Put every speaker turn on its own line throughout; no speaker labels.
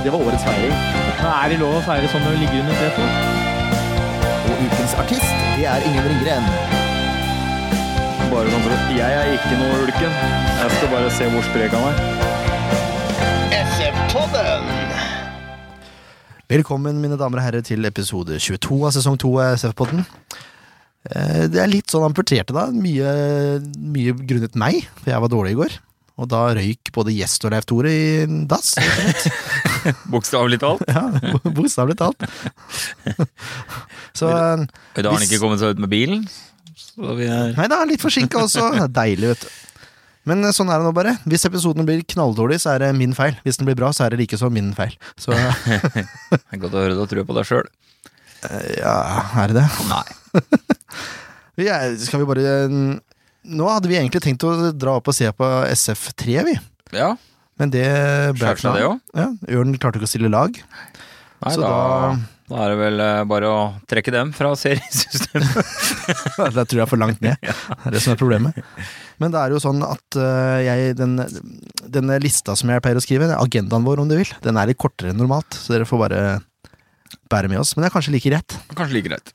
Det var årets feiring.
Er det lov å feire sånn når du ligger under tre to?
Og ukens artist, det er Ingen Ringgren.
Bare sånn for at Jeg er ikke noe ulken. Jeg skal bare se hvor sprek han er.
Velkommen, mine damer og herrer, til episode 22 av sesong 2 av SF-podden. Eh, Det er litt sånn amputerte, da. Mye, mye grunnet meg, for jeg var dårlig i går. Og da røyk både gjest og Leif Tore i en dass.
Bokstavelig talt.
Ja, Bokstavelig talt. Så eh,
Da har han
Hvis-
ikke kommet seg ut med bilen. Så vi er
Nei da, litt forsinka også. Det er Deilig, vet du. Men eh, sånn er det nå bare. Hvis episoden blir knalldårlig, så er det min feil. Hvis den blir bra, så er det likeså min feil. Så eh,
det er godt å høre du har trua på deg sjøl.
ja, er det det?
Nei.
Vi er, skal vi bare eh, Nå hadde vi egentlig tenkt å dra opp og se på SF3, vi.
Ja,
Men det ble
skjerp seg det
av.
òg.
Ja, Ørn klarte ikke å stille lag.
Nei,
Så
da,
da-
da er det vel eh, bare å trekke dem fra seriesystemet.
Det tror jeg er for langt ned. Det er det som er problemet. Men det er jo sånn at øh, jeg den, Denne lista som jeg pleier å skrive, den agendaen vår, om du vil, den er litt kortere enn normalt. Så dere får bare bære med oss. Men det er kanskje like rett.
Kanskje like greit.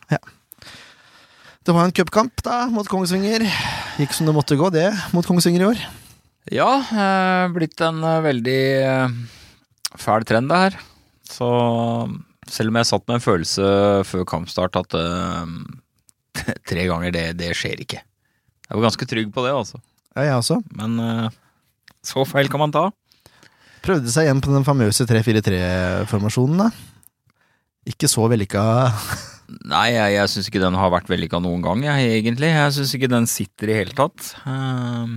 Det var en cupkamp da, mot Kongsvinger. Gikk som det måtte gå, det, mot Kongsvinger i år.
Ja, eh, blitt en eh, veldig eh, fæl trend det her. Så selv om jeg satt med en følelse før kampstart at eh, tre ganger det, det skjer ikke. Jeg var ganske trygg på det, altså.
Ja, jeg også.
Men eh, så feil kan man ta.
Prøvde seg igjen på den famøse 3-4-3-formasjonen, da. Ikke så vellykka
Nei, jeg, jeg syns ikke den har vært vellykka noen gang, jeg, egentlig. Jeg syns ikke den sitter i hele tatt. Ehm,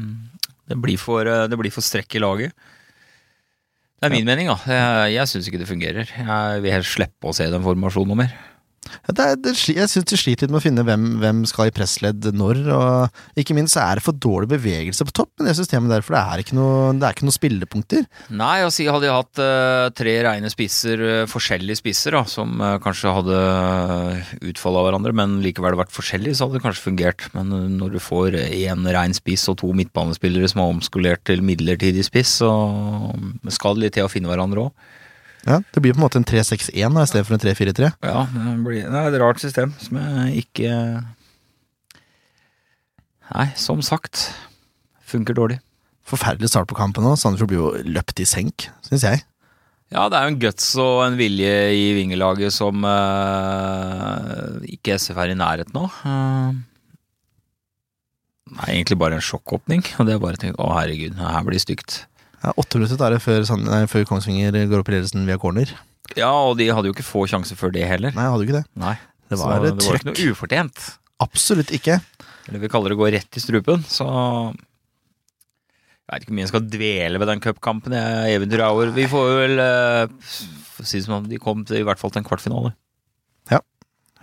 Det blir for, eh, det blir for strekk i laget. Det er min mening, da. Jeg, jeg syns ikke det fungerer. Jeg vil helst slippe å se den formasjonen noe mer.
Ja, det er, det, sli- Jeg syns de sliter litt med å finne hvem, hvem skal i pressledd når, og ikke minst så er det for dårlig bevegelse på topp med det systemet der, for det er ikke noe, det er ikke noen spillepunkter.
Nei, altså, hadde jeg hatt eh, tre reine spisser, eh, forskjellige spisser, da, som eh, kanskje hadde utfall av hverandre, men likevel vært forskjellige, så hadde det kanskje fungert. Men eh, når du får én rein spiss og to midtbanespillere som er omskolert til midlertidig spiss, så eh, skal det litt til å finne hverandre òg.
Ja, det blir på en måte en 3-6-1 da, i stedet for en 3-4-3.
Ja, det, blir, det er et rart system som jeg ikke Nei, som sagt. Funker dårlig.
Forferdelig start på kampen nå. Sandefjord blir jo løpt i senk, syns jeg.
Ja, det er jo en guts og en vilje i vingelaget som eh, ikke SF er i nærheten av. Eh, Nei, egentlig bare en sjokkåpning. Og det er bare å tenke å herregud, her blir det stygt.
Ja, Åtte minutter er det før, Sand- nei, før Kongsvinger går opp i ledelsen via corner.
Ja, og de hadde jo ikke få sjanser før det heller.
Nei, hadde jo ikke det.
Nei,
Det var
så
et
det var ikke
trøkk.
noe ufortjent.
Absolutt ikke.
Eller vi kaller det å gå rett i strupen, så jeg veit ikke hvor mye jeg skal dvele ved den cupkampen. jeg- Eventyret er over. Vi får vel eh, f- si det som om de kom til i hvert fall til en kvartfinale.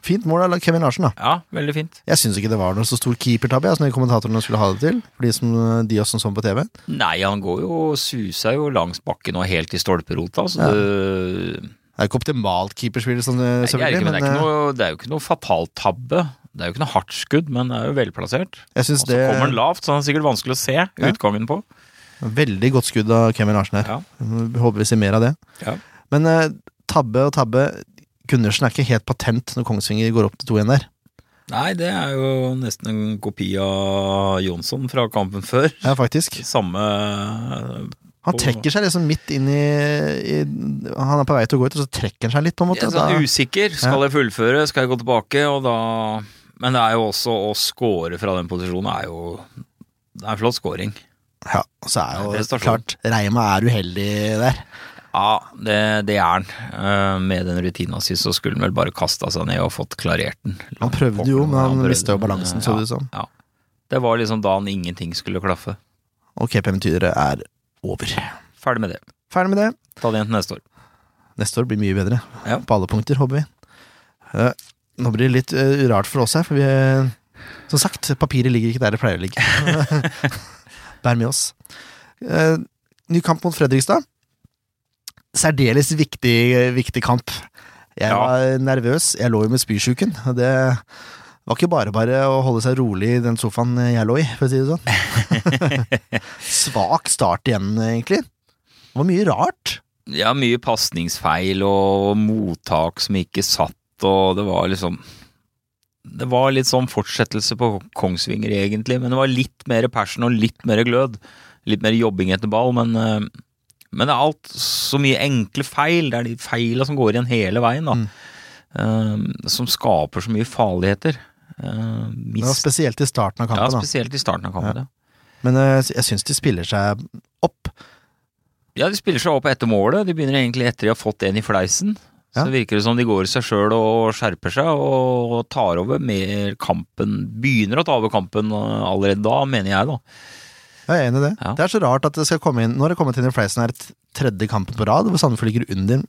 Fint mål av Kevin Larsen, da.
Ja, veldig fint.
Jeg syns ikke det var noe så stor keepertabbe jeg, som de kommentatorene skulle ha det til. For de, som, de også som så på TV.
Nei, han går jo og suser jo langs bakken og helt i stolperota, så
Ja.
det
Det er ikke optimalt keeperspill, sånn,
Nei, det er,
selvfølgelig,
ikke, men det, er ikke
eh,
noe, det er jo ikke noe fatal tabbe. Det er jo ikke noe hardt skudd, men det er jo velplassert.
jeg
Og
syns
så
det
kommer han lavt, så han er sikkert vanskelig å se utgangen på.
Veldig godt skudd av Kevin Larsen her.
Ja.
Vi Håper vi ser mer av det.
Ja.
Men eh, tabbe og tabbe Gundersen er ikke helt patent når Kongsvinger går opp til 2-1 der.
Nei, det er jo nesten en kopi av Jonsson fra kampen før.
Ja, faktisk.
Samme
Han
På-
trekker seg liksom midt inn i, i Han er på vei til å gå ut, og så trekker han seg litt, på en måte.
Jeg er sånn
Da-
usikker. Skal jeg fullføre? Skal jeg gå tilbake? Og da Men det er jo også å score fra den posisjonen er jo Det er en flott scoring.
ja, og så er
Det er
jo
prestasjon.
klart Reima er uheldig der.
Ja, det, det er han. Eh, Med den rutina si så skulle han vel bare kasta seg ned og fått klarert den.
Han prøvde jo, men han mista jo balansen, så det ut
ja,
som.
ja. Det var liksom da han ingenting skulle klaffe.
Og KPM-tyret er over.
Ferdig med det.
Ferdig med det.
Ta det igjen til neste år.
Neste år blir mye bedre.
Ja.
På alle punkter, håper vi. Eh, Nå blir det litt eh, rart for oss her, for vi eh, Som sagt, papiret ligger ikke der det pleier å ligge. Bær med oss. Eh, Ny kamp mot Fredrikstad. Særdeles viktig, eh, viktig kamp. Jeg
Ja.
var nervøs. Jeg lå jo med spysjuken. og Det var ikke bare bare å holde seg rolig i den sofaen jeg lå i, for å si det sånn. Svak start igjen, egentlig. Det var mye rart.
Ja, mye pasningsfeil og mottak som ikke satt, og det var liksom Det var litt sånn fortsettelse på Kongsvinger, egentlig, men det var litt mer passion og litt mer glød. Litt mer jobbing etter ball, men, eh, men det er alt så mye enkle feil. Det er de feila som går igjen hele veien, da.
Mm.
eh, som skaper så mye farligheter.
Det var
Eh, mist,
spesielt i starten av
ja,
kampen. da.
spesielt i starten av kampen. Ja.
Men eh, jeg syns de spiller seg opp.
Ja, de spiller seg opp etter målet. De begynner egentlig etter de har fått en i fleisen.
Ja.
Så virker det som de går i seg sjøl og skjerper seg og tar over mer kampen. Begynner å ta over kampen eh, allerede da, mener jeg, da.
Jeg er enig i det.
Ja.
Det er så rart at det skal komme inn Nå har det kommet inn i Fleisen her t- tredje kampen på rad, hvor Sandefjord ligger under.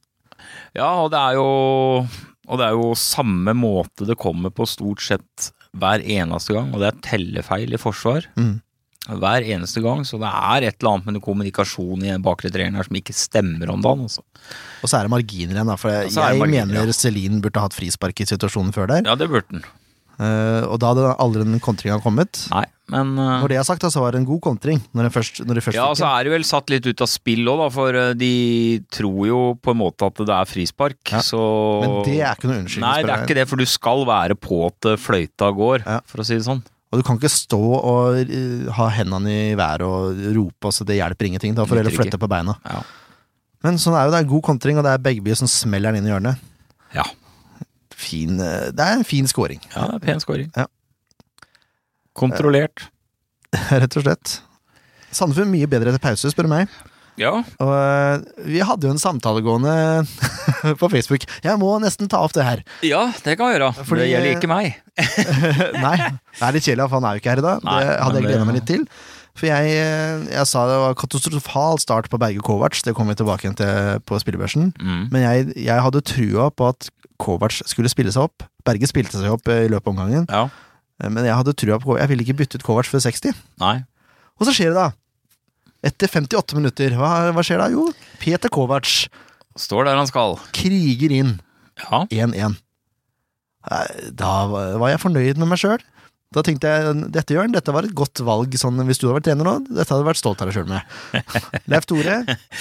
Ja, og det er jo Og det er jo samme måte det kommer på stort sett hver eneste gang, og det er tellefeil i forsvar.
Mm.
Hver eneste gang, så det er et eller annet med kommunikasjonen i den bakre treeren her som ikke stemmer om dagen, altså.
Og så er det marginer igjen, da. For jeg,
så er det marginer,
mener
ja.
Celine burde hatt frispark i situasjonen før der.
Ja, det burde den.
Eh, og da hadde aldri den kontringa kommet.
Nei, men eh,
Når det er sagt, da, så var det en god kontring. Når de først, når de først
Ja,
fikk
og så er de vel satt litt ut av spill òg, da, for eh, de tror jo på en måte at det er frispark,
Ja,
så
den. Men det er ikke noe unnskyldning.
Nei, det er ikke det, for du skal være på til fløyta går,
Ja.
for å si det sånn.
Og du kan ikke stå og eh, ha hendene i været og rope, altså det hjelper ingenting. Da får du
Nytter
heller flytte på beina.
Ja.
Men sånn er jo, det er god kontring, og det er Begby som smeller den inn i hjørnet.
Ja.
Fin, eh, det er en fin scoring,
Ja, det er pen scoring.
Ja.
Kontrollert.
rett og slett. Sandefjord mye bedre etter pause, spør du meg.
Ja,
Og eh, vi hadde jo en samtale gående på Facebook. Jeg må nesten ta opp det her.
ja det kan jeg gjøre.
Fordi-
det gjelder ikke meg.
Nei, det er litt kjedelig, for han er jo ikke her i dag.
Nei,
det hadde jeg
men det-
gleda meg litt til. For jeg, eh, jeg sa det var katastrofal start på Berge Kovac, det kommer vi tilbake igjen til på spillebørsen.
Mm.
Men jeg, jeg hadde trua på at Kovac skulle spille seg opp. Berge spilte seg opp eh, i løpet av omgangen,
Ja.
eh, men jeg hadde trua på Kovac. Jeg ville ikke bytte ut Kovac før 60.
Nei.
Og så skjer det, da. Etter 58 minutter, hva, hva skjer da? Jo, Peter Kovac
Står der han skal.
kriger inn
Ja.
1-1. Eh, Da var var jeg fornøyd med meg sjøl. Da tenkte jeg dette Jørn, dette var et godt valg sånn, hvis du hadde vært trener nå. Dette hadde jeg vært stolt av deg sjøl med. Leif Tore,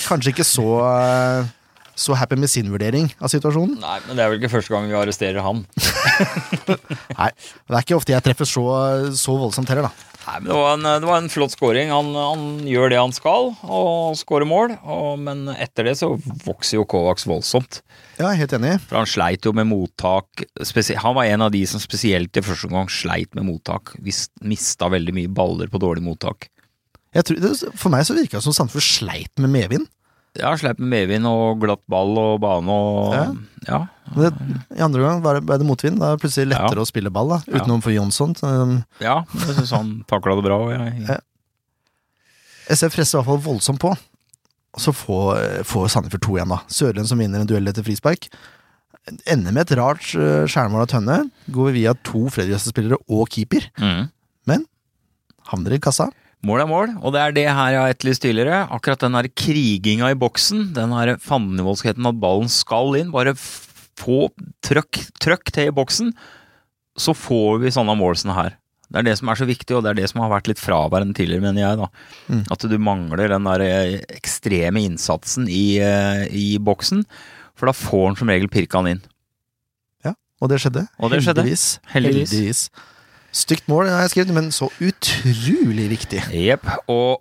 kanskje ikke så, eh, så happy med sin vurdering av situasjonen.
Nei, men det er vel ikke første gang vi arresterer han.
Nei, det er ikke ofte jeg treffer så, så voldsomt heller, da.
Nei, men det var en, det var en flott scoring. Han, han gjør det han skal, og scorer mål. Og, men etter det så vokser jo Kovacs voldsomt.
Ja, jeg er helt enig.
For han sleit jo med mottak. Spesi han var en av de som spesielt i første omgang sleit med mottak. Vis- Mista veldig mye baller på dårlig mottak.
Jeg tror, det, for meg så virka det som Sandefjord sleit med medvind.
Ja, sleit med medvind og glatt ball og bane og
Ja.
Ja.
Men det, I andre gang var det, ble det motvind. Da er det plutselig lettere å spille ball, da.
Ja.
Utenom for Jonsson. så, um,
ja jeg syns han takla det bra. og Jeg,
Ja. SF presser i hvert fall voldsomt på. Og så får, får Sandefjord 2 igjen, da. Sørlund som vinner en duell etter frispark. Ender med et rart eh, skjærmål av Tønne. Går via to Fredrikstad-spillere og keeper.
mm.
Havner i kassa.
Mål er mål, og det er det her jeg har etterlyst tidligere. Akkurat den her kriginga i boksen, den her fandenivoldskheten at ballen skal inn, bare f- få trøkk, trøkk til i boksen, så får vi sånne målsene her. Det er det som er så viktig, og det er det som har vært litt fraværende tidligere, mener jeg. da.
Mm.
At du mangler den der eh, ekstreme innsatsen i, eh, i boksen, for da får han som regel pirka han inn.
Og det skjedde.
Og det skjedde.
Heldigvis.
Heldigvis.
Heldigvis. Stygt mål, har jeg skrevet, men så utrolig viktig.
Jepp. Og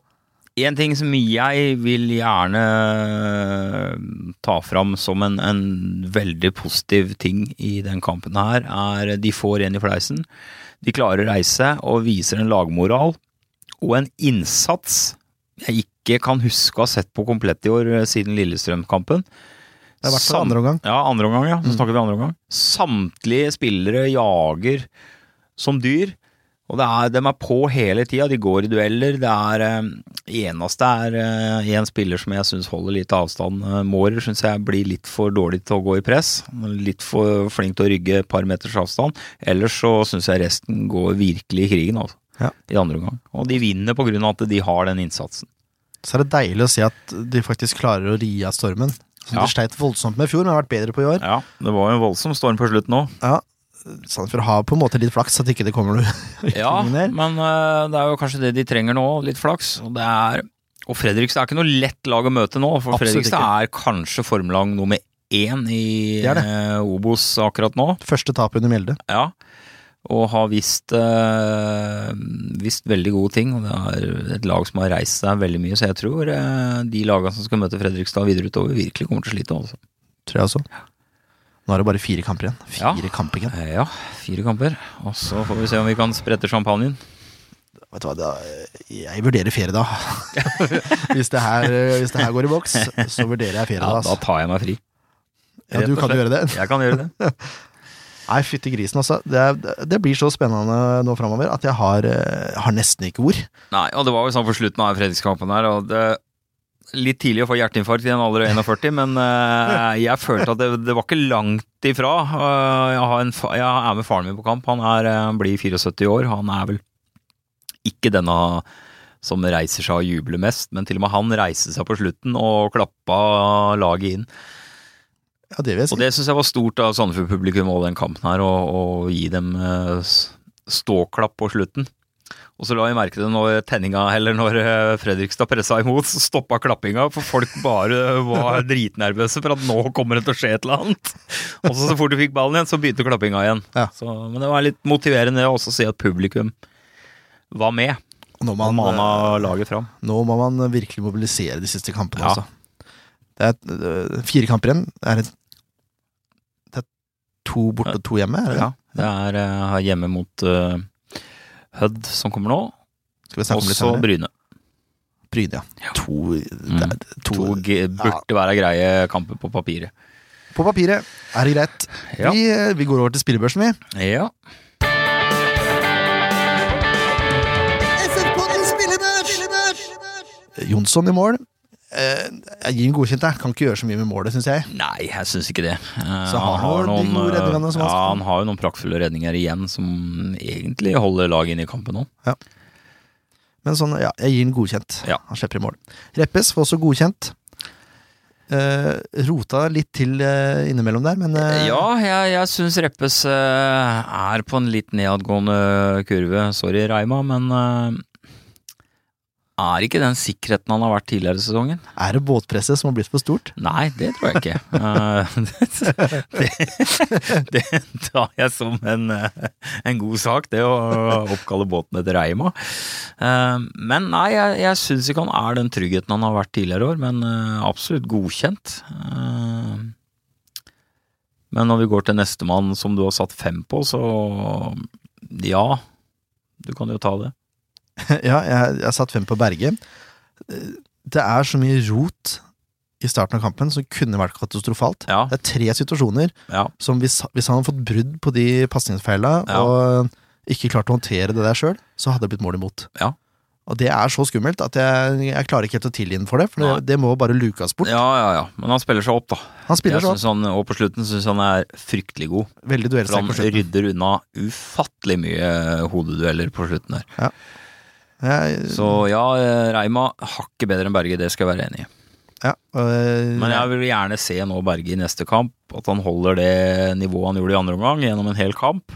en ting som jeg vil gjerne eh, ta fram som en, en veldig positiv ting i den kampen her, er de får en i fleisen. De klarer å reise og viser en lagmoral og en innsats jeg ikke kan huske å ha sett på komplett i år eh, siden Lillestrøm-kampen.
Det er i hvert fall andre omgang.
Ja, andre omgang, ja.
Mm.
Så snakker vi andre omgang. Samtlige spillere jager som dyr. Og det er, de er på hele tida, de går i dueller. Det er eh, eneste er eh, en spiller som jeg syns holder litt avstand. Eh, Mårer syns jeg blir litt for dårlig til å gå i press. Litt for flink til å rygge et par meters avstand. Ellers så syns jeg resten går virkelig i krigen, altså.
Ja.
I andre omgang. Og de vinner på grunn av at de har den innsatsen.
Så er det deilig å se at de faktisk klarer å ri av stormen. Som
Ja.
de sleit voldsomt med i fjor, men har vært bedre på i år.
Ja, det var jo en voldsom storm på slutten òg.
Ja. Sandefjord har på en måte litt flaks at ikke det kommer noe
Ja,
Ingen mer.
men eh, det er jo kanskje det de trenger nå, litt flaks. Og, det er, og Fredrikstad er ikke noe lett lag å møte nå, for
Absolutt
Fredrikstad er kanskje formlag nummer én i
Det er det.
eh, Obos akkurat nå.
første tap under Mjelde.
Ja. Og har visst, eh, visst veldig gode ting. Og det er et lag som har reist seg veldig mye, så jeg tror eh, de lagene som skal møte Fredrikstad videre utover, virkelig kommer til å slite. Altså.
tror jeg også. Nå er det bare fire kamper igjen. Fire
Ja.
kamper igjen.
Eh, Ja, fire kamper. Og så får vi se om vi kan sprette champagnen.
Vet du hva, da, jeg vurderer ferie da. hvis, det her, hvis det her går i boks, så vurderer jeg ferie
Ja,
da.
da
Altså.
tar jeg meg fri.
Ja, du
rett og
kan jo
slett.
gjøre det.
Jeg kan gjøre det.
Nei, fytti grisen, altså. Det, er- det blir så spennende nå framover at jeg har, eh, har nesten ikke ord.
Nei, og det var jo sånn for slutten av fredagskampen her, og det Litt tidlig å få hjerteinfarkt i en alder av 41, men eh, jeg følte at det, det var ikke langt ifra. Eh, jeg, har en, fa- jeg er med faren min på kamp. Han er, eh, blir 74 år. Han er vel ikke denne som reiser seg og jubler mest, men til og med han reiste seg på slutten og klappa laget inn.
Ja, det vil jeg si.
Og det syns jeg var stort av Sandefjord-publikum og den kampen her, å å gi dem eh, s- ståklapp på slutten. Og så la jeg merke til når tenninga, eller når eh, Fredrikstad pressa imot, så stoppa klappinga, for folk bare var dritnervøse for at nå kommer det til å skje et eller annet. Og så så fort du fikk ballen igjen, så begynte klappinga igjen.
Ja.
Så, men det var litt motiverende å også se at publikum var med,
Og nå må man,
og
eh,
mana laget fram.
nå må man virkelig mobilisere de siste kampene,
Ja.
altså. Det er eh, fire kamper igjen. Det er, en- det er to borte og to hjemme, er det det?
Ja, det er eh, hjemme mot eh, Hødd som kommer nå,
Skal vi snakke
og
om litt
så
senere?
Bryne.
Bryne, ja. To, det er, to,
To g- burde være greie kamper på papiret.
På papiret er det greit.
Ja.
Vi, øh, vi går over til spillebørsen, vi.
Ja.
Jonsson i mål. Eh, Jeg gir en godkjent der. Kan ikke gjøre så mye med målet, syns jeg.
Nei, jeg syns ikke det. Eh,
Så har han jo de gode
eh,
redningene som
ja,
han skal ha.
han har jo noen praktfulle redninger igjen som egentlig holder laget inne i kampen nå.
Men sånn, ja, jeg gir den godkjent.
Ja.
Han slipper i mål. Reppes får også godkjent. Eh, rota litt til eh, innimellom der, men eh,
Ja, jeg, jeg syns Reppes eh, er på en litt nedadgående kurve. Sorry, Reima, men eh, er ikke den sikkerheten han har vært tidligere i sesongen?
er det båtpresset som har blitt for stort?
Nei, det tror jeg ikke. Eh, det, det, det tar jeg som en, eh, en god sak, det å oppkalle båten etter Reima. Eh, Men nei, jeg, jeg syns ikke han er den tryggheten han har vært tidligere år, men eh, absolutt godkjent. Eh, Men når vi går til nestemann som du har satt fem på, så ja, du kan jo ta det.
ja, jeg, jeg satt fem på Berge. Eh, Det er så mye rot i starten av kampen som kunne vært katastrofalt.
Ja,
Det er tre situasjoner
ja.
som hvis, hvis han hadde fått brudd på de pasningsfeila
Ja.
og ikke klart å håndtere det der sjøl, så hadde det blitt mål imot.
Ja.
Og det er så skummelt at jeg, jeg klarer ikke helt å tilgi den for det, for
Nei.
det, det må bare lukes bort.
ja, ja, ja. Men han spiller seg opp, da.
Han
Jeg
spiller sånn,
synes han, og på slutten syns han er fryktelig god.
veldig
For
duellsterk
han
på slutten.
rydder unna ufattelig mye eh, hodedueller på slutten der.
Jeg-
Så ja, eh, Reima hakket bedre enn Berge, det skal jeg være enig i.
Ja, øh,
Men jeg vil gjerne se nå Berge i neste kamp, at han holder det nivået han gjorde i andre omgang gjennom en hel kamp.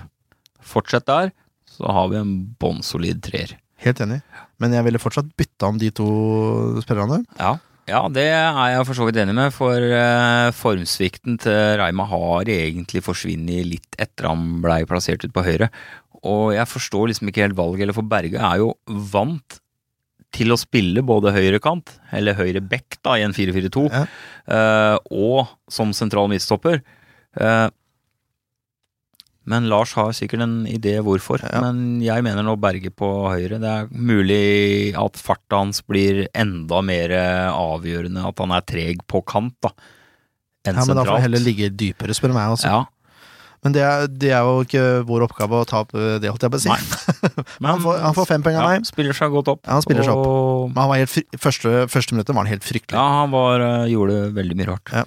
Fortsett der, så har vi en bånnsolid treer.
helt enig. Men jeg ville fortsatt bytta om de to spillerne.
Ja. ja, det er jeg for så vidt enig med, for eh, formsvikten til Reima har egentlig forsvunnet litt etter han blei plassert ut på høyre. Og jeg forstår liksom ikke helt valget, eller for Berge er jo vant til å spille både høyrekant, eller høyre back da, i en 4-4-2,
Ja.
eh, og som sentral midtstopper. Eh, men Lars har sikkert en idé hvorfor.
Ja.
Men jeg mener nå Berge på høyre. Det er mulig at farta hans blir enda mer eh, avgjørende, at han er treg på kant, da, enn
Ja, men da får han heller altså.
sentralt.
ligge dypere, spør du meg. Også.
Ja,
Men det er, det er jo ikke vår oppgave å ta opp eh, det, holdt jeg på å si. Men han får, han får fem poeng av meg.
spiller seg godt opp.
Ja, han spiller seg opp.
Og,
Men han var helt fry første, første minuttet var han helt fryktelig.
ja, han var, eh, gjorde veldig mye rart.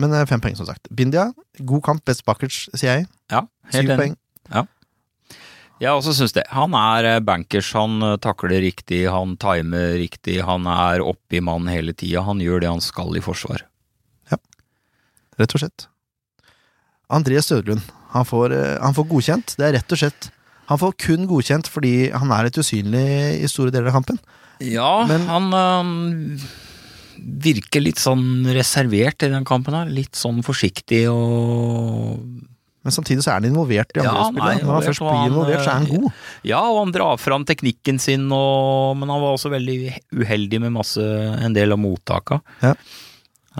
Men eh, fem poeng, som sagt. Bindia, god kamp, best backers, sier jeg.
Ja, helt
Syv
enig.
poeng.
Jeg også syns det. Han er eh, bankers, han eh, takler riktig, han timer riktig, han er oppe i mannen hele tida. Han gjør det han skal i forsvar.
rett og slett. André Stødlund, han får, eh, han får godkjent, det er rett og slett. Han får kun godkjent fordi han er litt usynlig i store deler av kampen.
Ja,
Men-
han eh, virker litt sånn reservert i den kampen her. Litt sånn forsiktig og
Men samtidig så er han involvert i andre
Ja, han
spillere. Når
er
han
involvert,
først
og
blir
han,
involvert, så er han
eh,
god.
Ja, og han drar fram teknikken sin, og, men han var også veldig uheldig med masse, en del av mottaka.
Ja.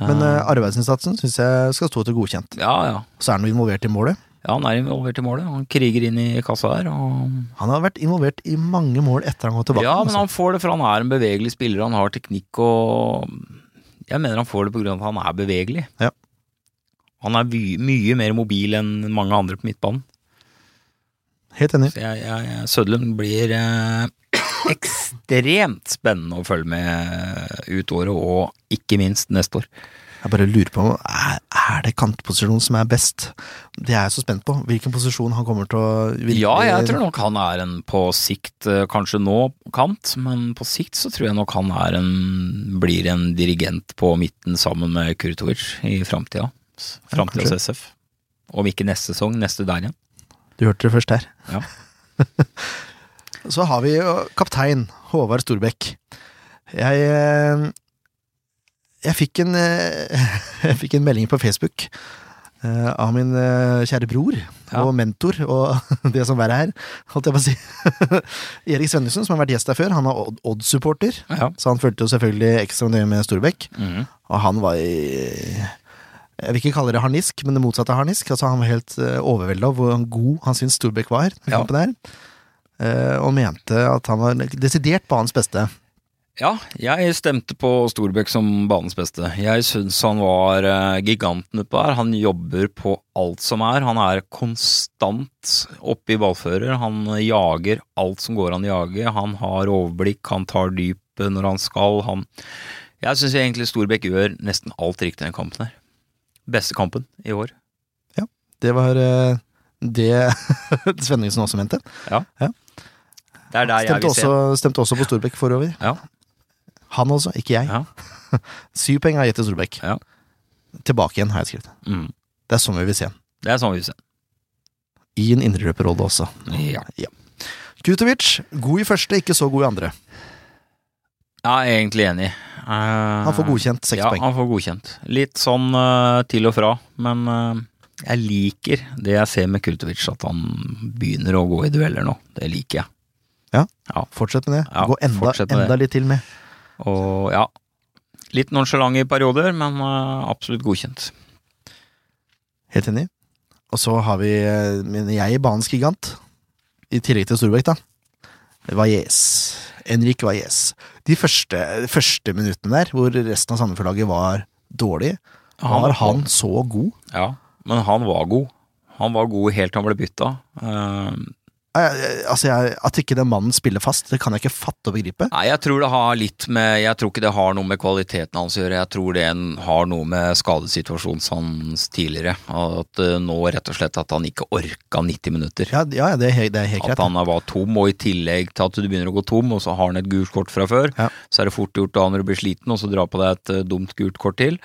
Men
Eh,
eh, arbeidsinnsatsen syns jeg skal stå til godkjent.
ja, ja.
Så er han jo involvert i målet.
Ja, han er involvert i målet. Han kriger inn i kassa der. Og
Han har vært involvert i mange mål etter han går tilbake.
ja, men
altså.
han får det, for han er en bevegelig spiller. Han har teknikk og Jeg mener han får det på grunn av at han er bevegelig.
Ja.
Han er vy- mye mer mobil enn mange andre på midtbanen.
Helt enig.
Så jeg, jeg, jeg, Sødlund blir eh, ekstremt spennende å følge med ut året, og ikke minst neste år.
Jeg bare lurer på om er, er det kantposisjonen som er best. Det er jeg så spent på. Hvilken posisjon han kommer til å virkelig-
Ja, jeg tror nok han er en på sikt, eh, kanskje nå kant, men på sikt så tror jeg nok han er en, blir en dirigent på midten sammen med Kurtovic i framtida. S-
Ja,
Framtidas SF. Om ikke neste sesong, neste der igjen.
Du hørte det først her.
Ja.
Så har vi jo kaptein Håvard Storbekk. Jeg eh, Jeg fikk en eh, Jeg fikk en melding på Facebook eh, av min eh, kjære bror
Ja.
og mentor og det som verre er, holdt jeg på å si. Erik Svenningsen, som har vært gjest her før, han er Odd- Odd-supporter.
Ja.
Så han fulgte jo selvfølgelig ekstra nøye med Storbekk.
Mhm.
Og han var i Jeg vil ikke kalle det harnisk, men det motsatte av harnisk. Altså, han var helt uh, overvelda over hvor god han syntes Storbekk var. i
Ja.
kampen her. Eh, og mente at han var desidert banens beste.
Ja, jeg stemte på Storbekk som banens beste. Jeg syns han var eh, giganten utpå der. Han jobber på alt som er. Han er konstant oppe i ballfører. Han jager alt som går an å jage. Han har overblikk, han tar dypet når han skal. Han Jeg syns egentlig Storbekk gjør nesten alt riktig i den kampen her. Beste kampen i år.
Det var eh, det Svenningsen også mente.
Det er der jeg
Stemte
vil se.
også, stemte også på Storbekk forover.
Ja.
Han også, ikke jeg.
Ja.
Syv poeng har jeg gitt til Storbekk.
Ja.
Tilbake igjen, har jeg skrevet.
Mm.
Det er sånn vi vil se ham.
Det er sånn vi vil se.
I en indreløperrolle også.
Ja.
Kutovic, god i første, ikke så god i andre.
Jeg er egentlig enig. Eh,
Han
Ah.
får godkjent seks
ja,
poeng.
han får godkjent. Litt sånn eh, til og fra, men eh, jeg liker det jeg ser med Kurtovic, at han begynner å gå i dueller nå. Det liker jeg.
Fortsett med det.
Ja,
Gå enda,
fortsett med
enda litt til med.
Og ja, litt nonsjalant i perioder, men eh, absolutt godkjent.
Helt enig. Og så har vi, eh, mener jeg, banens gigant. I tillegg til Storbekk, da. Valles. Henrik Valles. De første, første minuttene der, hvor resten av Sandefjord-laget var dårlig, var han så god.
Ja, men han var god. Han var god helt til han ble bytta. Eh,
Eh, eh, Altså, jeg, At ikke den mannen spiller fast, det kan jeg ikke fatte og begripe.
Nei, jeg tror det har litt med Jeg tror ikke det har noe med kvaliteten hans å gjøre. Jeg tror det en- har noe med skadesituasjonen hans tidligere. At eh, nå rett og slett at han ikke orka 90 minutter.
Ja, ja det, er, he- det er helt
At
greit.
han var tom, og i tillegg til at du begynner å gå tom, og så har han et gult kort fra før,
Ja.
så er det fort gjort da når du blir sliten, og så dra på deg et eh, dumt gult kort til.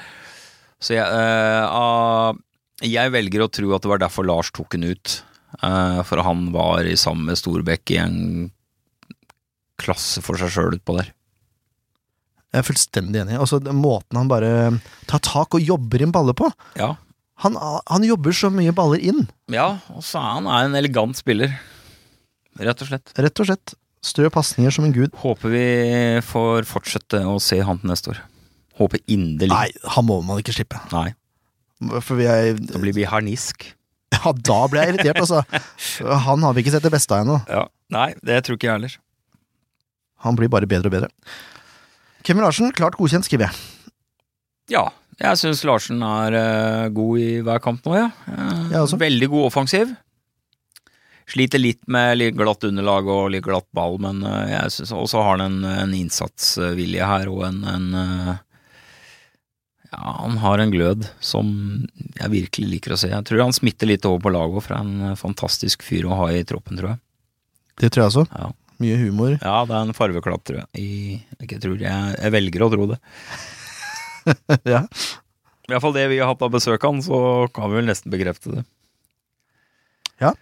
Så jeg, eh, ah, jeg velger å tro at det var derfor Lars tok han ut. Eh, for han var i sammen med Storbekk i en klasse for seg sjøl utpå der.
Jeg er fullstendig enig. Og så den måten han bare tar tak og jobber inn baller på.
Ja.
Han, han jobber så mye baller inn.
Ja, og så er han er en elegant spiller. Rett og slett.
Rett og slett. Stø pasninger som en gud.
Håper vi får fortsette å se han til neste år. Håper inderlig.
Nei, han må man ikke slippe.
Nei.
For vi er
Da blir vi harnisk.
Ja, da ble jeg irritert, altså. Han har vi ikke sett det beste av ennå.
Ja. Nei, det tror ikke jeg heller.
Han blir bare bedre og bedre. Kevin Larsen, klart godkjent, skriver jeg.
Ja, Jeg syns Larsen er eh, god i hver kamp nå, ja. Eh,
Ja, altså.
Veldig god offensiv. Sliter litt med litt glatt underlag og litt glatt ball, men eh, jeg syns også har han en, en innsatsvilje her og en, en eh, Ja, han har en glød som jeg virkelig liker å se. Jeg tror han smitter litt over på laget òg, for han er en fantastisk fyr å ha i troppen, tror jeg.
Det tror jeg også.
Ja.
Mye humor.
Ja, det er en farveklatt, tror jeg. I, ikke tror, jeg, jeg velger å tro det.
ja.
I hvert fall det vi har hatt av besøk av han, så kan vi vel nesten bekrefte det.
Ja.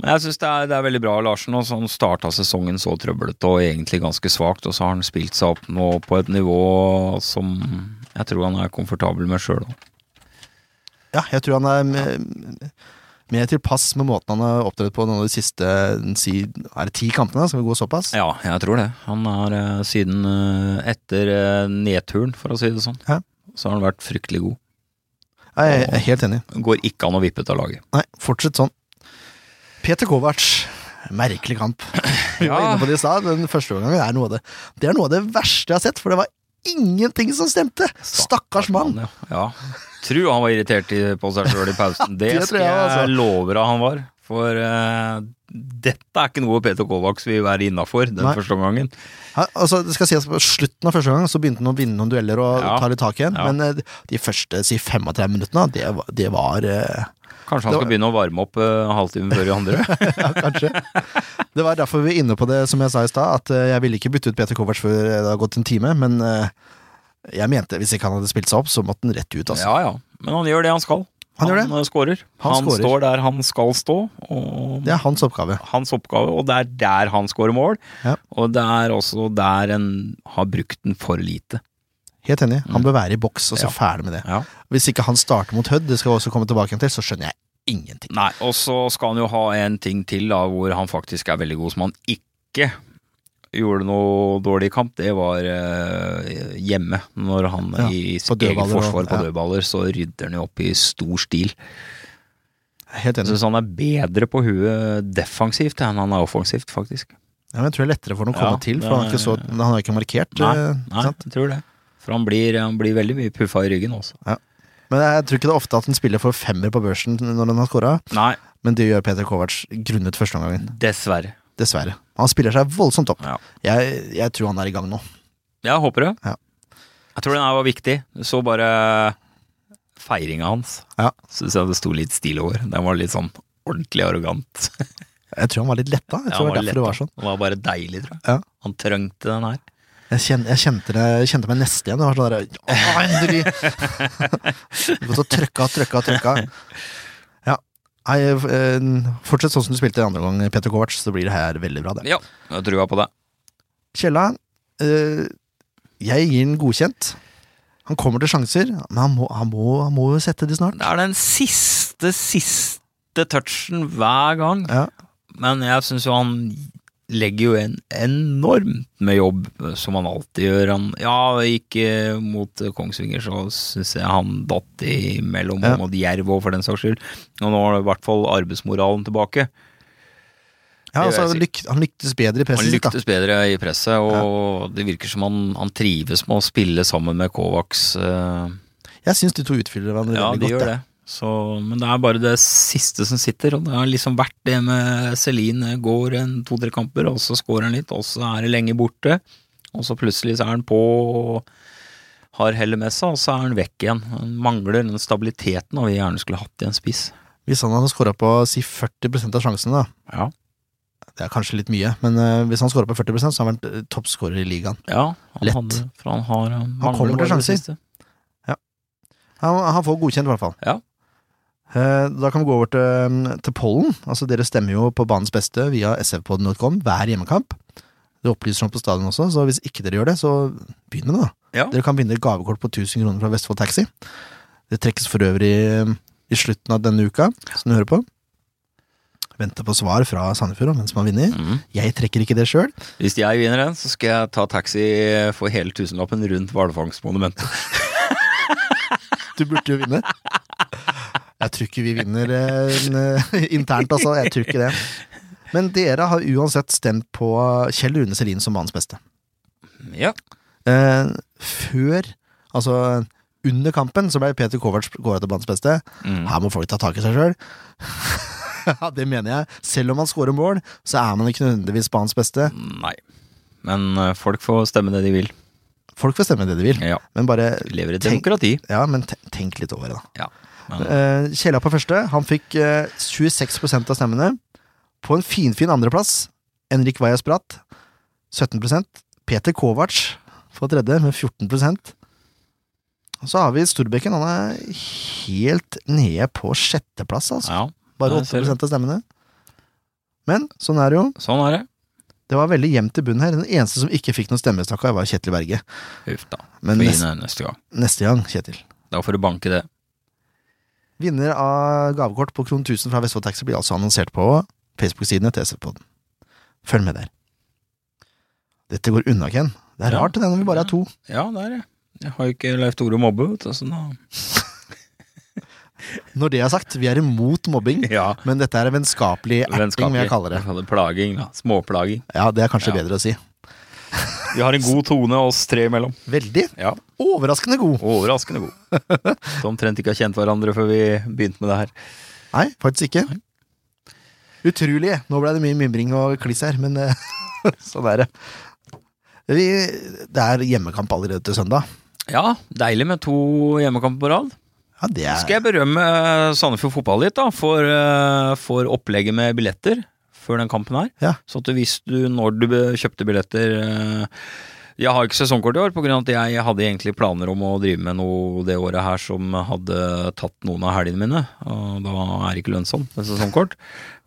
Men jeg syns det, er- det er veldig bra av Larsen. Også. Han starta sesongen så trøblete og egentlig ganske svakt, og så har han spilt seg opp nå på et nivå som jeg tror han er komfortabel med sjøl òg.
ja, jeg tror han er me- mer tilpass med måten han har opptrådt på noen av de siste si, er det ti kampene. Skal vi gå såpass?
Ja, jeg tror det. Han er eh, siden eh, etter eh, nedturen, for å si det sånn,
Ja.
så har han vært fryktelig god.
Jeg er helt enig.
Går ikke an å vippe ut av laget.
Nei, fortsett sånn. Peter Kovac. Merkelig kamp. Vi var
Ja.
inne på det i stad. Den første gangen er noe av det Det er noe av det verste jeg har sett, for det var ingenting som stemte! Stakkars mann!
Ja. ja. Tror han var irritert i- på seg sjøl i pausen. Det,
Det tror
skal
jeg altså.
jeg,
også.
love deg han var. For eh, dette er ikke noe Peter Kovacs vil være innafor den
Nei.
første omgangen.
Ja, altså, det skal sies på Slutten av første gang så begynte han å vinne noen dueller og
Ja.
ta litt tak igjen,
Ja.
men eh, de første si 35 minuttene, det var, det var eh,
Kanskje han
Det var-
skal begynne å varme opp eh, en halvtime før de andre.
Ja, kanskje. Det var derfor vi er inne på det, som jeg sa i stad, at eh, jeg ville ikke bytte ut Peter Kovac før det hadde gått en time, men eh, jeg mente hvis ikke han hadde spilt seg opp, så måtte han rett ut, altså.
ja, ja. Men han gjør det han skal.
Han gjør
eh, skårer.
Han
Han,
skårer.
står der han skal stå. Og
Det er hans oppgave.
hans oppgave, og det er der han skårer mål.
Ja.
Og det er også der en har brukt den for lite.
Helt enig. Han bør være i boks, og så
Mm. Ja.
ferdig med det.
Ja.
Hvis ikke han starter mot Hødd, det skal jeg også komme tilbake til, så skjønner jeg ingenting.
Nei, og så skal han jo ha en ting til da, hvor han faktisk er veldig god, som han ikke gjorde noe dårlig i kamp. Det var eh, hjemme, når han
Ja,
i sitt
på dødballer
eget forsvar
og-
på
ja.
dødballer, så rydder han jo opp i stor stil.
Helt
Jeg
enig.
syns han er bedre på huet defensivt enn han er offensivt, faktisk.
Ja, men jeg tror det er lettere for ham å
Ja,
komme til, for han er
det-
ikke, så, han er ikke markert.
Nei,
eh,
Nei,
sant?
jeg tror det. For han blir, han blir veldig mye puffa i ryggen også.
Men jeg tror ikke det er ofte at han spiller for femmer på børsen når han har scora,
Nei,
men det gjør Peter Kovac grunnet førsteomgangen.
dessverre.
Dessverre. Han spiller seg voldsomt opp.
Ja.
Jeg, jeg tror han er i gang nå.
Jeg håper det.
Ja.
Jeg tror den her var viktig. Du så bare feiringa hans.
Ja.
Syns jeg det sto litt stil over. Den var litt sånn ordentlig arrogant.
Jeg tror han var litt letta. Jeg tror det var
Ja,
derfor det var
lett,
sånn.
da. Den var bare deilig, tror jeg.
Ja.
Han trengte den her.
Jeg, kjen, jeg, kjente, det, jeg kjente meg neste igjen. Det var sånn der, «Åh, endelig! Gått og trøkka, trøkka, trøkka. Ja. Nei, eh, fortsett sånn som du spilte i andre gang, Peter Kovac, så blir det her veldig bra. Det.
Ja, jeg trua på det.
Kjella, eh, jeg gir den godkjent. Han kommer til sjanser, men han må, han må, han må jo sette de snart.
Det er den siste, siste touchen hver gang.
Ja.
Men jeg syns jo han legger jo en enormt med jobb, eh, som han alltid gjør. Han, ja, ikke mot eh, Kongsvinger, så syns jeg han datt imellom,
Ja.
og mot Jerv òg, for den saks skyld. Og nå har i hvert fall arbeidsmoralen tilbake.
Ja,
det vil
altså,
jeg
lyk, han lyktes bedre i
Han
presset sitt, da.
lyktes bedre i presset, og det virker som han, han trives med å spille sammen med Kovacs. eh,
Jeg syns de to utfyller hverandre
Ja,
veldig
de
godt.
gjør
jeg.
det. Så, men det er bare det siste som sitter, og det har liksom vært det med Celine går en to-tre kamper, og så scorer han litt, og så er det lenge borte, og så plutselig så er han på og har hellet med seg, og så er han vekk igjen. Han mangler den stabiliteten vi gjerne skulle hatt i en spiss.
Hvis han hadde scora på si 40 av sjansene, da,
Ja.
Det er kanskje litt mye, men eh, hvis han scorer på 40 så har han vært eh, toppscorer i ligaen.
han
Lett.
Hadde, for han har Han, mangler
kommer til
bare det
sjanser.
siste.
Han, han får godkjent, i hvert fall.
Ja.
Eh, Da kan vi gå over til, til pollen. Altså, dere stemmer jo på banens beste via sfpodden.com hver hjemmekamp. Det opplyser om på stadion også, så hvis ikke dere gjør det, så begynn med det, da.
Ja.
Dere kan vinne gavekort på 1000 kroner fra Vestfold Taxi. Det trekkes for øvrig eh, i slutten av denne uka, som du hører på. Venter på svar fra Sandefjord om hvem som har vunnet.
Mhm.
Jeg trekker ikke det sjøl.
Hvis jeg vinner den, så skal jeg ta taxi for hele tusenlappen rundt hvalfangstmonumentet.
Du burde jo vinne. Jeg tror ikke vi vinner eh, n- internt, altså. Jeg tror ikke det. Men dere har uansett stemt på Kjell Rune Selin som banens beste.
Ja.
Eh, før Altså under kampen så ble Peter Kovac kåra til banens beste.
Mm.
Her må folk ta tak i seg sjøl. Ja, det mener jeg. Selv om man scorer mål, så er man ikke nødvendigvis banens beste.
Nei. Men eh, folk får stemme det de vil.
Folk får stemme det de vil,
Ja,
men bare
vi lever i et
Tenk-
demokrati.
ja, men te- tenk litt over det, da.
Ja. Men,
Eh, Kjella på første, han fikk eh, 26 av stemmene. På en finfin andreplass, Henrik Vajas Bratt, 17 Peter Kovac på tredje, med 14 Og så har vi Storbekken, han er helt nede på sjetteplass, altså.
ja,
Bare
der ser
8
du.
av stemmene. Men sånn er det jo.
sånn er det.
Det var veldig jevnt i bunnen her. Den eneste som ikke fikk noen stemme, stakkar, var Kjetil Berge.
Huff da.
Men
Få
neste,
inn den neste gang.
neste gang, Kjetil.
Da får du banke det.
Vinner av gavekort på kron 1000 fra Vestfold Taxi blir altså annonsert på Facebook-sidene til SV-podden. Følg med der. Dette går unna, Ken. Det er
Ja.
rart det når vi bare er to.
Ja, det er det. Jeg har jo ikke Leif Tore å mobbe, vet du. Så da
Når det er sagt, vi er imot mobbing,
Ja.
men dette er vennskapelig erting, vil jeg kalle det.
Plaging, da. Småplaging.
Ja, det er kanskje
Ja.
bedre å si.
Vi har en god tone oss tre imellom.
Veldig.
Ja.
Overraskende god.
Overraskende god. Som omtrent ikke har kjent hverandre før vi begynte med det her.
Nei, faktisk ikke. Utrolig. Nå ble det mye mimring og kliss her, men eh, sånn er det. Vi, det er hjemmekamp allerede til søndag.
Ja, deilig med to hjemmekamper på rad.
Ja, det er
Skal jeg berømme eh, Sandefjord fotball litt, da, for, eh, for opplegget med billetter før den kampen her.
Ja.
Så at du visste du når du be- kjøpte billetter eh, Jeg har ikke sesongkort i år, på grunn av at jeg hadde egentlig planer om å drive med noe det året her som hadde tatt noen av helgene mine. Og da er det ikke lønnsomt med sesongkort.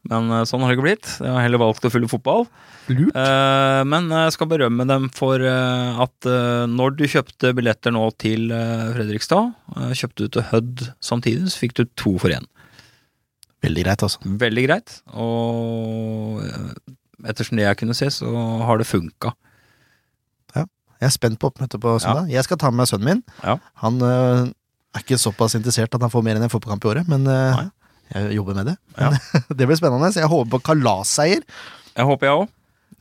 Men eh, sånn har det ikke blitt. Jeg har heller valgt å fylle fotball.
lurt.
Eh, men jeg skal berømme dem for eh, at eh, når du kjøpte billetter nå til eh, Fredrikstad, eh, kjøpte du til Hødd samtidig, så fikk du to for én.
Veldig greit, altså.
Veldig greit. Og eh, ettersom det jeg kunne se, så har det funka.
Jeg er spent på oppmøtet på søndag. Jeg skal ta med meg sønnen min.
Ja.
Han øh, er ikke såpass interessert at han får mer enn en fotballkamp i året, men øh,
Nei.
jeg jobber med det. Men, det blir spennende. Så jeg håper på kalasseier.
Jeg håper jeg òg.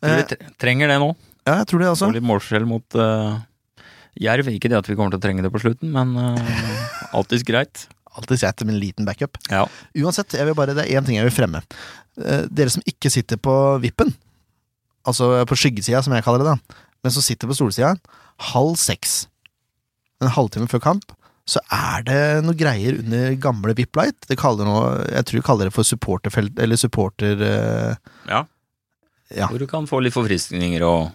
Eh,
Vi tre- trenger det nå.
ja, jeg tror det også.
Få litt målforskjell mot eh, Jerv. Ikke det at vi kommer til å trenge det på slutten, men uh, alltids greit.
Alltid greit med en liten backup.
Ja.
Uansett, jeg vil bare, det er én ting jeg vil fremme. Eh, dere som ikke sitter på vippen, altså på skyggesida, som jeg kaller det, da, men som sitter på solsida, halv seks, en halvtime før kamp, så er det noe greier under gamle VIP Light. Det kaller nå, jeg tror de kaller det for supporterfelt, eller supporter... eh, Ja.
Hvor du kan få litt forfriskninger og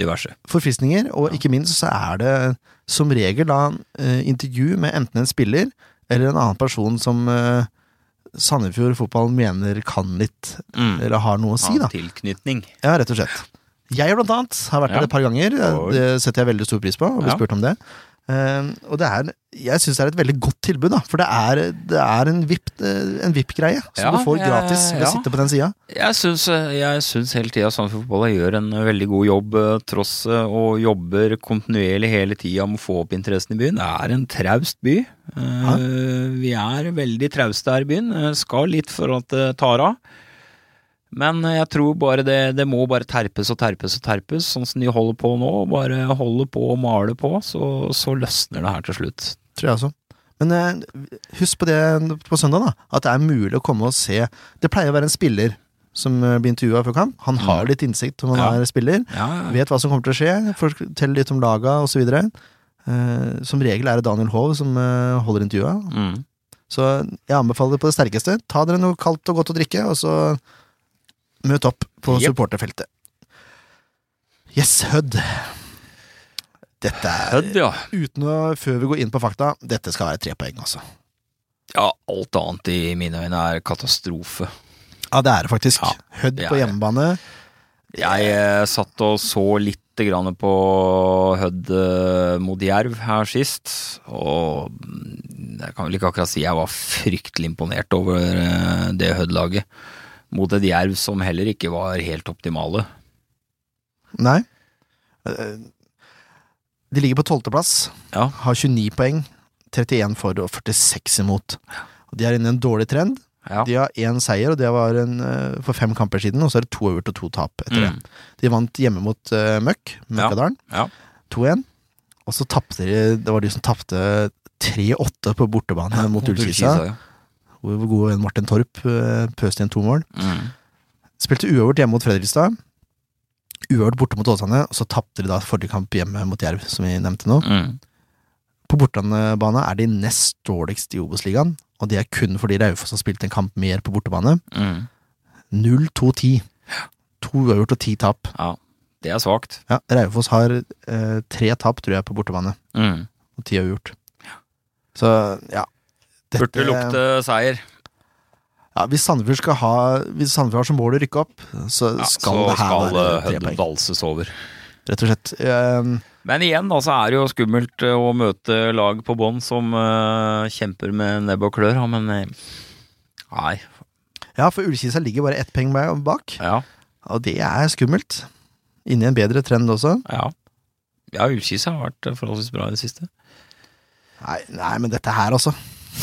diverse.
forfriskninger, og
Ja.
ikke minst så er det som regel da eh, intervju med enten en spiller eller en annen person som eh, Sandefjord fotball mener kan litt,
Mm.
eller har noe å Eh, si, da.
Tilknytning.
Ja, rett og slett. Jeg blant annet har vært
Ja.
der et par ganger.
Oi.
Det setter jeg veldig stor pris på, og blir
Ja.
spurt om det. Eh, og det er, jeg syns det er et veldig godt tilbud, da, for det er, det er en VIP- eh, en VIP-greie som
Ja,
du får
jeg-
gratis ved å
ja.
sitte på den sida.
Jeg syns, eh, jeg syns hele tida Sandefjord Fotball gjør en veldig god jobb, eh, tross eh, og jobber kontinuerlig hele tida med å få opp interessen i byen. Det er en traust by. Eh, Vi er veldig trauste her i byen. Eh, Skal litt for at det tar av. Men eh, jeg tror bare det, det må bare terpes og terpes og terpes, sånn som de holder på nå. Bare holder på og maler på, så, så løsner det her til slutt.
Tror jeg også. Men eh, husk på det på søndag, da. At det er mulig å komme og se. Det pleier å være en spiller som eh, blir intervjua før kamp. Han har litt innsikt om han
Mm. Ja. Mm.
er spiller.
Ja,
Vet hva som kommer til å skje. Forteller litt om laga osv. Eh, som regel er det Daniel Hov som eh, holder intervjua.
mm.
Så jeg anbefaler det på det sterkeste. Ta dere noe kaldt og godt å drikke, og så møt opp på
Jep.
supporterfeltet. Yes, Hødd. Dette er
Hødd, ja.
uten å, før vi går inn på fakta, dette skal være tre poeng, altså.
ja. Alt annet i mine øyne er katastrofe.
Ja, det er det faktisk.
Ja,
Hødd
det
på
er det.
hjemmebane.
Jeg eh, satt og så litt grann på Hødd eh, mot Jerv her sist, og mm, jeg kan vel ikke akkurat si jeg var fryktelig imponert over eh, det Hødd-laget. Mot et Jerv som heller ikke var helt optimale.
Nei. Eh, De ligger på tolvteplass,
Ja.
har 29 poeng, 31 for og 46 imot. Og De er inne i en dårlig trend.
Ja.
De har én seier, og det var en, eh, for fem kamper siden, og så er det to øvert og to tap etter det.
Mm.
De vant hjemme mot eh, Møkk, Møkkadalen,
Ja, ja.
2-1. Og så tapte de Det var de som tapte 3-8 på bortebane mot Ullkisa.
ja.
Hvor vår gode venn Martin Torp eh, pøste inn to mål.
Mm.
Spilte uavgjort hjemme mot Fredrikstad. Uavgjort borte mot Åsane, og så tapte de da forrige kamp hjemme mot Jerv, som vi nevnte nå.
Mm.
På bortebane er de nest dårligst i Obos-ligaen, og det er kun fordi Raufoss har spilt en kamp mer på bortebane.
Mm.
0-2-10. To uavgjort og ti tap.
ja. Det er svakt.
Ja, Raufoss har eh, tre tap, tror jeg, på bortebane,
Mm.
og ti uavgjort. Så, ja Dette-
Burde lukte seier.
Ja, hvis Sandefjord skal ha Hvis Sandefjord har som mål å rykke opp, så
Ja,
skal
så
det her
skal
være
eh,
tre
Hødd
poeng.
valses over.
Rett og slett. Eh,
Men igjen, da, så er det jo skummelt eh, å møte lag på bånn som eh, kjemper med nebb og klør, ja, men eh, Nei.
ja, for Ullkisa ligger bare ett poeng bak,
Ja.
og det er skummelt. Inne i en bedre trend også.
Ja, ja Ullkisa har vært eh, forholdsvis bra i det siste.
Nei, nei men dette her, altså.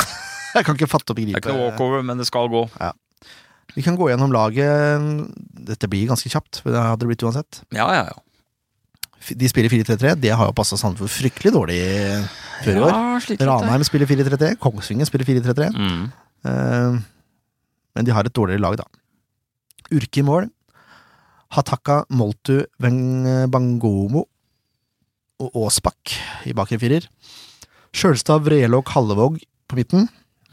Jeg kan ikke fatte og
Det
begripe.
er ikke noe walkover, men det skal gå.
Vi kan gå gjennom laget. Dette blir ganske kjapt, for det hadde det blitt uansett.
Ja, ja, ja.
F- De spiller 4-3-3. Det har jo passa Sandefjord fryktelig dårlig før i år.
Ja, slik litt,
Ranheim spiller 4-3-3. Kongsvinger spiller 4-3-3.
ja. Mm.
Eh, Men de har et dårligere lag, da. Urke i mål. Hataka, Moltu, Weng- Bangomo og Aasbakk i bakre firer. Sjølstad, Vrelå, Kallevåg på midten.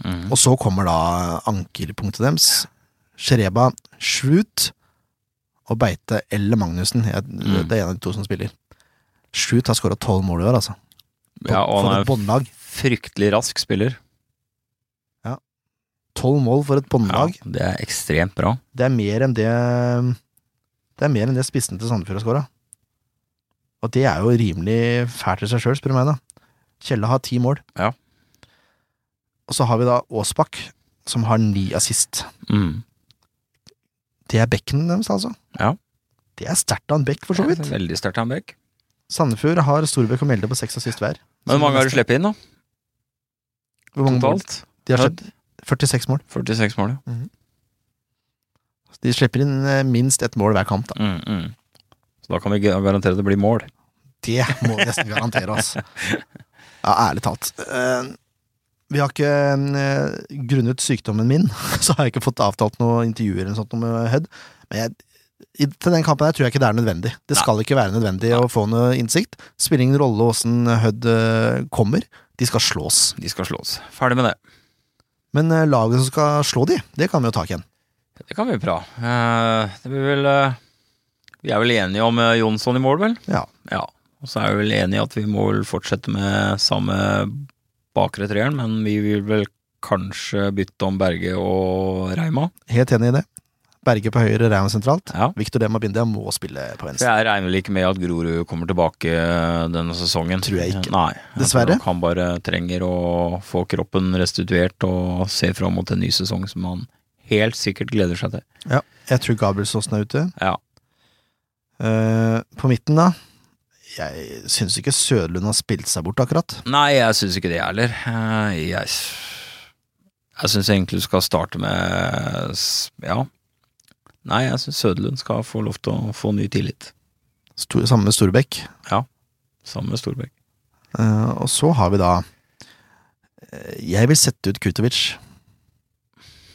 Mm.
Og så kommer da ankerpunktet deres. Shereba Schrut og Beite eller Magnussen. Jeg,
Mm.
Det er en av de to som spiller. Schrut har skåra tolv mål i år, altså. På,
Ja, og
for et
han er
båndlag.
fryktelig rask spiller.
Tolv mål for et
Ja,
båndlag.
det er ekstremt bra.
Det er mer enn det Det er mer enn det spissen til Sandefjord har skåra. Og det er jo rimelig fælt i seg sjøl, spør du meg, da. Kjelle har ti mål.
Ja.
Og så har vi da Aasbakk, som har ni assist.
Mm.
Det er bekken deres, altså.
Ja.
Det er sterkt av en bekk, for så vidt.
Ja, Veldig sterkt av en bekk.
Sandefjord har Storbekk og Mjelde på seks assist hver.
Men hvor mange har du sluppet inn, da?
Hvor mange mål?
Totalt?
De har sluppet 46 mål.
46 mål, ja.
De slipper inn eh, minst ett mål hver kamp, da.
Mm, mm. Så da kan vi ga- garantere det blir mål.
Det må vi nesten garantere, altså. Ja, ærlig talt. Eh, Vi har ikke eh, Grunnet sykdommen min, så har jeg ikke fått avtalt noen intervjuer eller noe sånt med Hødd. Men jeg, i, til den kampen her tror jeg ikke det er nødvendig. Det skal ikke være nødvendig å få noe innsikt. Spiller ingen rolle åssen Hødd eh, kommer. De skal slås.
De skal slås. Ferdig med det.
Men eh, laget som skal slå de, det kan vi jo ta igjen.
Det kan bli bra. Eh, Det blir vel eh, Vi er vel enige om eh, Jonsson i mål, vel?
Ja.
ja. Og så er vi vel enige at vi må vel fortsette med samme bakre treeren, men vi vil vel kanskje bytte om Berge og Reima.
Helt enig i det. Berge på høyre, Reim sentralt.
Ja.
Victor Dema Bindia må spille på
For
venstre.
jeg regner vel ikke med at Grorud kommer tilbake eh, denne sesongen.
Tror jeg ikke.
Nei. Jeg
Dessverre.
tror nok Han bare trenger å få kroppen restituert og se fram mot en ny sesong som han helt sikkert gleder seg til.
Jeg tror Gabrielsåsen er ute.
Ja.
Eh, på midten, da. Jeg syns ikke Sødlund har spilt seg bort, akkurat.
Nei, jeg syns ikke det heller. Eh, Jeg, s- jeg syns egentlig du skal starte med s- Ja. Nei, jeg syns Søderlund skal få lov til å få ny tillit.
Stor, samme med Storbekk.
Sammen med Storbekk.
Eh, og så har vi da eh, Jeg vil sette ut Kutovic.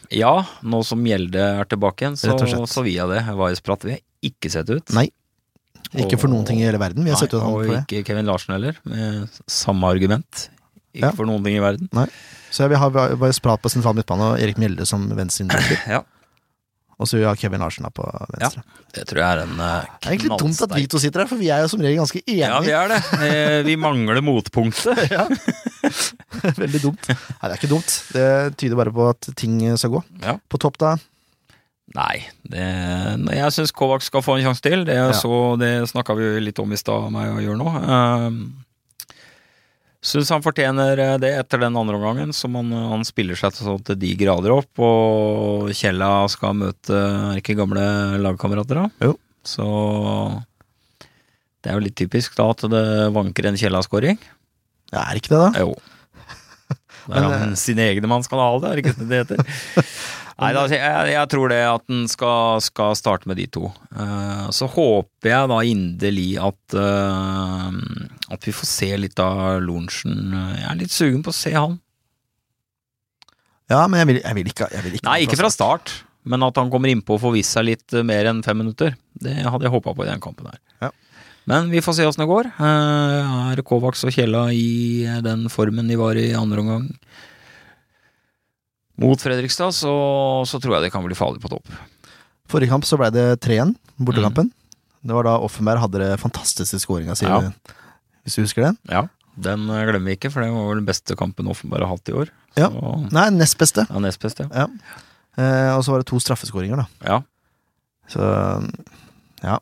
Ja, nå som Gjelde er tilbake igjen, så,
Rett og slett.
så vil jeg det. Vaisprat vil jeg ikke sette ut.
Nei, Ikke for
Og-
noen ting i hele verden. Vi har
Nei,
sett ut han
og
for det.
ikke Kevin Larsen heller, med samme argument. Ikke
Ja.
for noen ting i verden.
Så jeg vil ha bare Sprat på sentral midtbane og Erik Mjelde som venstre innbytter.
Ja.
Og så vil jeg ha Kevin Larsen da på venstre.
Det tror jeg er en eh, knallsterk
Det er egentlig dumt at vi to sitter her, for vi er jo som regel ganske enige.
Ja, vi er det. Eh, Vi mangler motpunktet.
Veldig dumt. Nei, det er ikke dumt. Det tyder bare på at ting skal gå.
Ja.
På topp, da.
Nei, det, nei, jeg syns Kovac skal få en sjanse til. Det,
Ja.
så- det snakka vi jo litt om i stad, meg og Jørn òg. Syns han fortjener eh, det etter den andre omgangen, som han, han spiller seg til, sånn til de grader opp. Og Kjella skal møte er ikke gamle lagkamerater, da.
Jo.
Så det er jo litt typisk da at det vanker en Kjella-skåring.
Ja, er ikke det, da?
Jo. Det er
Men,
han, sine egne man skal ha det, er det ikke det det heter? Nei, da, jeg, jeg tror det at den skal, skal starte med de to. Eh, så håper jeg da inderlig at, eh, at vi får se litt av Lorentzen. Jeg er litt sugen på å se han.
Ja, men jeg vil, jeg vil ikke, jeg vil ikke
Nei, ikke fra start, men at han kommer innpå og får vist seg litt eh, mer enn fem minutter. Det hadde jeg håpa på i den kampen her.
Ja.
Men vi får se åssen det går. Eh, Er Kovacs og Kjella i eh, den formen de var i andre omgang mot Fredrikstad, så, så tror jeg det kan bli farlig på topp.
Forrige kamp så ble det 3-1, bortekampen. Det var da Offenberg hadde det fantastiske skåringa si,
Mm. Ja.
hvis du husker den.
Ja, den eh, glemmer vi ikke, for det var vel den beste kampen Offenberg har hatt i år.
Ja.
Så,
Nei, nest beste.
ja nest beste, ja.
Ja. Eh, og så var det to straffeskåringer, da.
ja.
Så ja.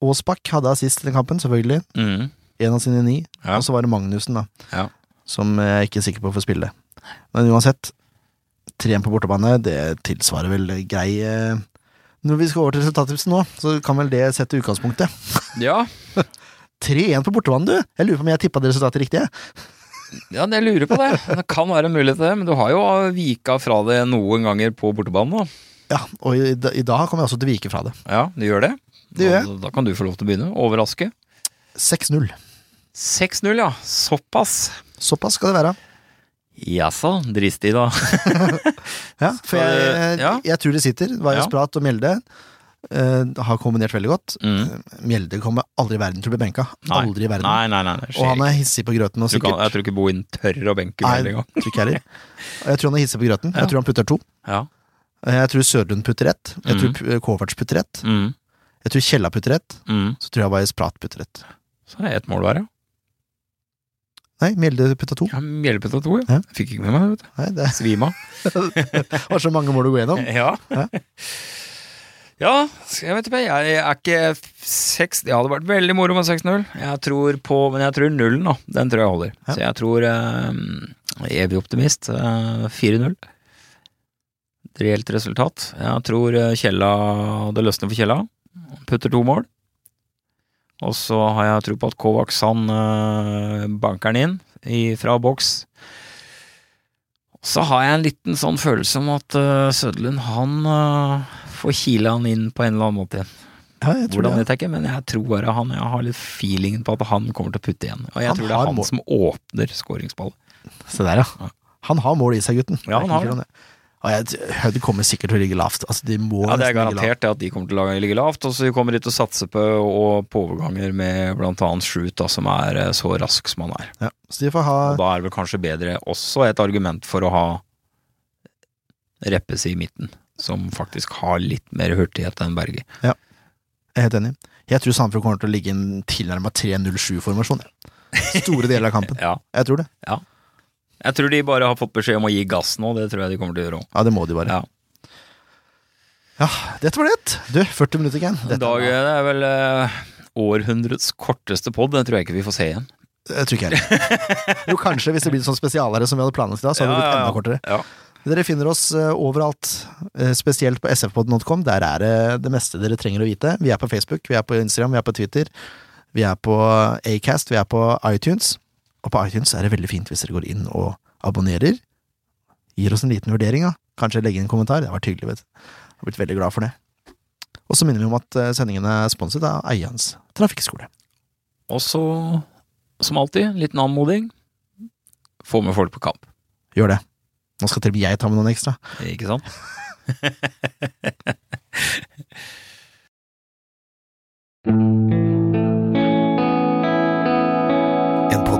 Aasbakk hadde assist i den kampen, selvfølgelig.
Mm.
Én av sine ni.
Ja.
Og så var det Magnussen, da.
Ja.
Som jeg er ikke sikker på får spille. Men uansett, 3-1 på bortebane, det tilsvarer vel grei eh, Når vi skal over til resultattipsen nå, så kan vel det sette utgangspunktet.
ja.
3-1 på bortebane, du! Jeg lurer på om jeg tippa det resultatet riktig. jeg.
Ja, jeg lurer på det. Det kan være en mulighet til det, men du har jo eh, vika fra det noen ganger på bortebane nå.
Ja, og i, i dag kommer jeg også til å vike fra det.
Ja, du gjør det.
Det gjør jeg.
Da, da kan du få lov til å begynne. Overraske.
6-0.
6-0, ja. Såpass.
Såpass skal det være.
Jaså, dristig, da.
Ja, for
Skal
jeg,
det- ja.
jeg tror det sitter. Vajos
Ja.
Prat og Mjelde eh, har kombinert veldig godt.
Mm.
Mjelde kommer aldri i verden til å bli benka.
Nei.
Aldri i verden.
Nei, nei, nei. Det
og
skjer
han
ikke.
er hissig på grøten. Og
Du kan,
sikkert,
jeg tror ikke Bohin tør å benke
Nei,
med en gang.
tror ikke jeg heller. Og Jeg tror han er hissig på grøten.
Ja.
Jeg tror han putter to. Eh,
Ja.
Jeg tror Sørlund putter ett. Jeg
Mm.
tror eh, Kovacs putter ett.
Mm.
Jeg tror Kjella putter ett.
Mm.
Så tror jeg Vajos Prat putter ett.
Så er det ett mål hver, ja.
Nei, Mjelde putta to.
ja Hjelpet av to, ja.
Ja.
Fikk ikke med meg, vet du.
Nei, det
Svima.
var så mange mål å gå gjennom.
Ja.
Ja.
Ja, jeg vet ikke, jeg er ikke seks Det hadde vært veldig moro med 6-0. Jeg tror på Men jeg tror nullen, da. Den tror jeg holder.
Ja.
Så jeg tror eh, Evig optimist. eh, 4-0. Reelt resultat. Jeg tror eh, Kjella Det løsner for Kjella. Putter to mål. Og så har jeg tro på at Kovacs han eh, banker den inn i, fra boks. Så har jeg en liten sånn følelse om at eh, Søderlund han eh, får kile han inn på en eller annen måte igjen.
Ja, jeg tror
Hvordan
det.
vet jeg ikke, men jeg tror bare han Jeg har litt feelingen på at han kommer til å putte igjen. Og jeg
Han
tror det
har
er han
mål.
som åpner skåringsballet.
Se der, ja.
Ja.
Han har mål i seg, gutten. Det
Ja,
er
han
ikke
har
tvil om Og jeg, Hødd kommer sikkert til å ligge lavt. Altså, de må
Ja, Det er
nesten ligge lavt.
garantert det at de kommer til å ligge lavt, og så kommer de til å satse på, og på overganger med blant annet Shroot, da, som er eh, så rask som han er.
Ja, så de får ha
Og da er det vel kanskje bedre også et argument for å ha Reppes i midten, som faktisk har litt mer hurtighet enn Berge.
Jeg er helt enig. Jeg tror Sandefjord kommer til å ligge i en tilnærma 3-0-7-formasjon. jeg. Store deler av kampen.
Ja,
Jeg tror det.
Jeg tror de bare har fått beskjed om å gi gass nå, det tror jeg de kommer til å gjøre òg.
Ja, det må de bare.
Ja.
Ja, dette var det. Du, 40 minutter igjen. Dette-
Dag det er vel eh, århundrets korteste pod, den tror jeg ikke vi får se igjen.
Jeg tror ikke jeg heller. Jo, kanskje, hvis det blir sånn spesialere som vi hadde planlagt i dag, så hadde det blitt enda kortere.
Ja.
Dere finner oss eh, overalt, eh, spesielt på sfpod.com. Der er det det meste dere trenger å vite. Vi er på Facebook, vi er på Instagram, vi er på Twitter. Vi er på Acast, vi er på iTunes. Og på iTunes er det veldig fint hvis dere går inn og abonnerer. Gir oss en liten vurdering, da. Kanskje legge inn en kommentar. Det har vært hyggelig, vet du. Jeg har blitt veldig glad for det. Og så minner vi om at eh, sendingen er sponset av Eians trafikkskole.
Og så, som alltid, liten anmoding. Få med folk på kamp,
Gjør det. Nå skal til og med jeg ta med noen ekstra.
ikke sant?
En